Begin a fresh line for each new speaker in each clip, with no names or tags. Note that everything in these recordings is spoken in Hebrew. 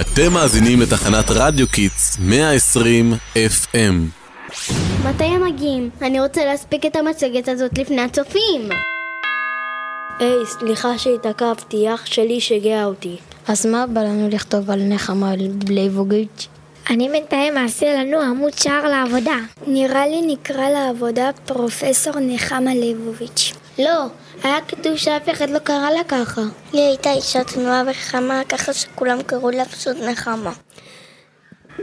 אתם מאזינים לתחנת רדיו קיטס 120 FM.
מתי הם מגיעים? אני רוצה להספיק את המצגת הזאת לפני הצופים.
היי, סליחה שהתעכבתי, אח שלי שיגע אותי.
אז מה בא לנו לכתוב על נחמה בלייבוביץ'?
אני בינתיים אעשה לנו עמוד שער לעבודה.
נראה לי נקרא לעבודה פרופסור נחמה ליבוביץ'.
לא, היה כתוב שאף אחד לא קרא לה ככה.
היא הייתה אישה תנועה וחמה, ככה שכולם קראו לה פשוט נחמה.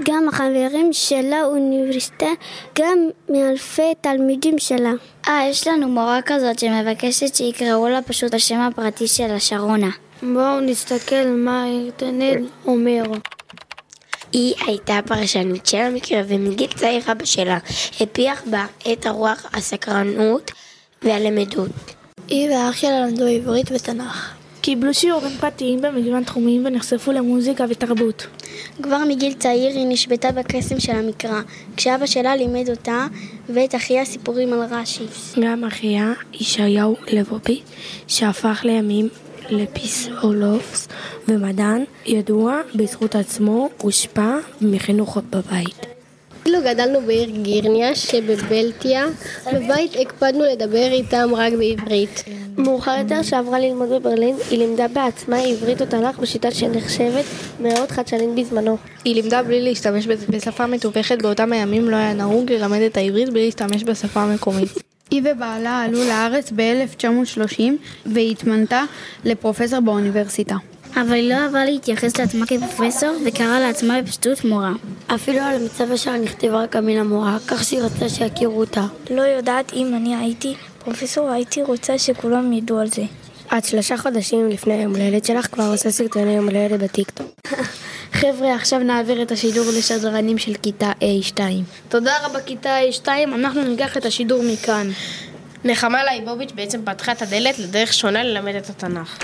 גם החברים שלה אוניברסיטה, גם מאלפי תלמידים שלה.
אה, יש לנו מורה כזאת שמבקשת שיקראו לה פשוט בשם הפרטי שלה, שרונה.
בואו נסתכל מה האינטרנט אומר.
היא הייתה פרשנית של המקרה, ומגיל צעיר אבא שלה הפיח בה את הרוח, הסקרנות והלמדות.
היא ואח שלה למדו עברית ותנ"ך.
קיבלו שיעורים פרטיים במגוון תחומים ונחשפו למוזיקה ותרבות.
כבר מגיל צעיר היא נשבתה בקסם של המקרא, כשאבא שלה לימד אותה ואת אחיה סיפורים על רש"י.
גם אחיה, ישעיהו לבובי, שהפך לימים לפיסאולוס ומדען, ידוע בזכות עצמו, הושפע מחינוך בבית.
כאילו גדלנו בעיר גירניה שבבלטיה, בבית הקפדנו לדבר איתם רק בעברית.
מאוחר יותר שעברה ללמוד בברלין, היא לימדה בעצמה עברית ותנ"ך בשיטה שנחשבת מאוד חדשנית בזמנו.
היא לימדה בלי להשתמש בשפה מתווכת, באותם הימים לא היה נהוג ללמד את העברית בלי להשתמש בשפה המקומית.
היא ובעלה עלו לארץ ב-1930 והתמנתה לפרופסור באוניברסיטה.
אבל היא לא אהבה להתייחס לעצמה כפרופסור וקראה לעצמה בפשטות מורה.
אפילו על המצב השעה נכתבה רק המילה מורה, כך שהיא רצתה שיכירו אותה.
לא יודעת אם אני הייתי פרופסור, הייתי רוצה שכולם ידעו על זה.
עד שלושה חודשים לפני יום הולדת שלך כבר עושה סרטוני יום הולדת בטיקטוק.
חבר'ה, עכשיו נעביר את השידור לשדרנים של כיתה A2.
תודה רבה כיתה A2, אנחנו ניקח את השידור מכאן.
נחמה לייבוביץ' בעצם פתחה את הדלת לדרך שונה ללמד את התנ"ך.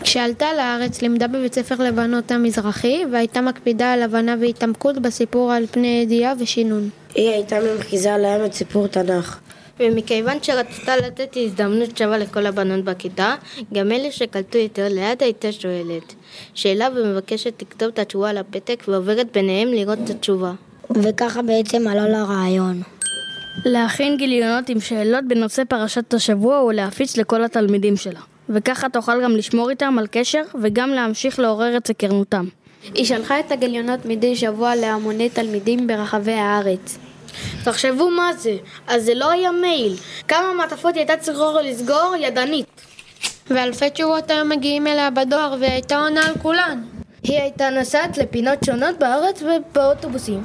כשעלתה לארץ לימדה בבית ספר לבנות המזרחי והייתה מקפידה על הבנה והתעמקות בסיפור על פני ידיעה ושינון.
היא הייתה ממחיזה להם את סיפור תנ"ך.
ומכיוון שרצתה לתת הזדמנות שווה לכל הבנות בכיתה, גם אלה שקלטו יותר לאט הייתה שואלת שאלה ומבקשת לכתוב את התשובה על הפתק ועוברת ביניהם לראות את התשובה.
וככה בעצם עלה לה רעיון.
להכין גיליונות עם שאלות בנושא פרשת השבוע ולהפיץ לכל התלמידים שלה. וככה תוכל גם לשמור איתם על קשר וגם להמשיך לעורר את סקרנותם.
היא שלחה את הגיליונות מדי שבוע להמוני תלמידים ברחבי הארץ.
תחשבו מה זה, אז זה לא היה מייל. כמה מעטפות היא הייתה צריכה לסגור ידנית.
ואלפי תשובות היו מגיעים אליה בדואר והיא הייתה עונה על כולן.
היא הייתה נוסעת לפינות שונות בארץ ובאוטובוסים.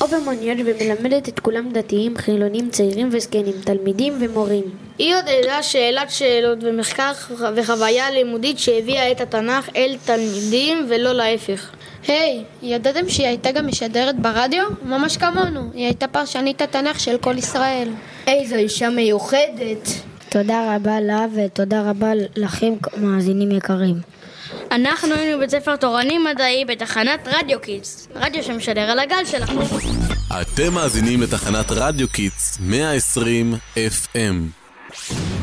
או במוניות ומלמדת את כולם דתיים, חילונים, צעירים וזקנים, תלמידים ומורים.
היא עודדה שאלת שאלות ומחקר וחוויה לימודית שהביאה את התנ"ך אל תלמידים ולא להפך.
היי, hey, ידעתם שהיא הייתה גם משדרת ברדיו? ממש כמונו, היא הייתה פרשנית התנ"ך של כל ישראל.
איזו אישה מיוחדת.
תודה רבה לה ותודה רבה לכם מאזינים יקרים.
אנחנו היינו בית ספר תורני מדעי בתחנת רדיו קיטס, רדיו שמשדר על הגל שלכם.
אתם מאזינים לתחנת רדיו קיטס 120 FM.